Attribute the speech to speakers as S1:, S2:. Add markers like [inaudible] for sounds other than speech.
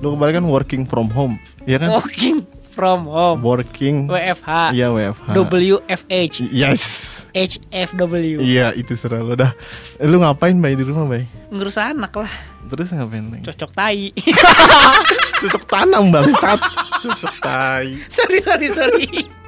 S1: Lu kemarin kan working from home, iya kan?
S2: [laughs] Working from home.
S1: Working.
S2: WFH.
S1: Iya WFH.
S2: WFH.
S1: Yes.
S2: HFW.
S1: Iya itu serah lo dah. Lu ngapain bay di rumah bay?
S2: Ngurus anak lah.
S1: Terus ngapain lagi?
S2: Cocok
S1: [laughs]
S2: tai.
S1: Cocok tanam bangsat. Cocok tai.
S2: sorry sorry sorry.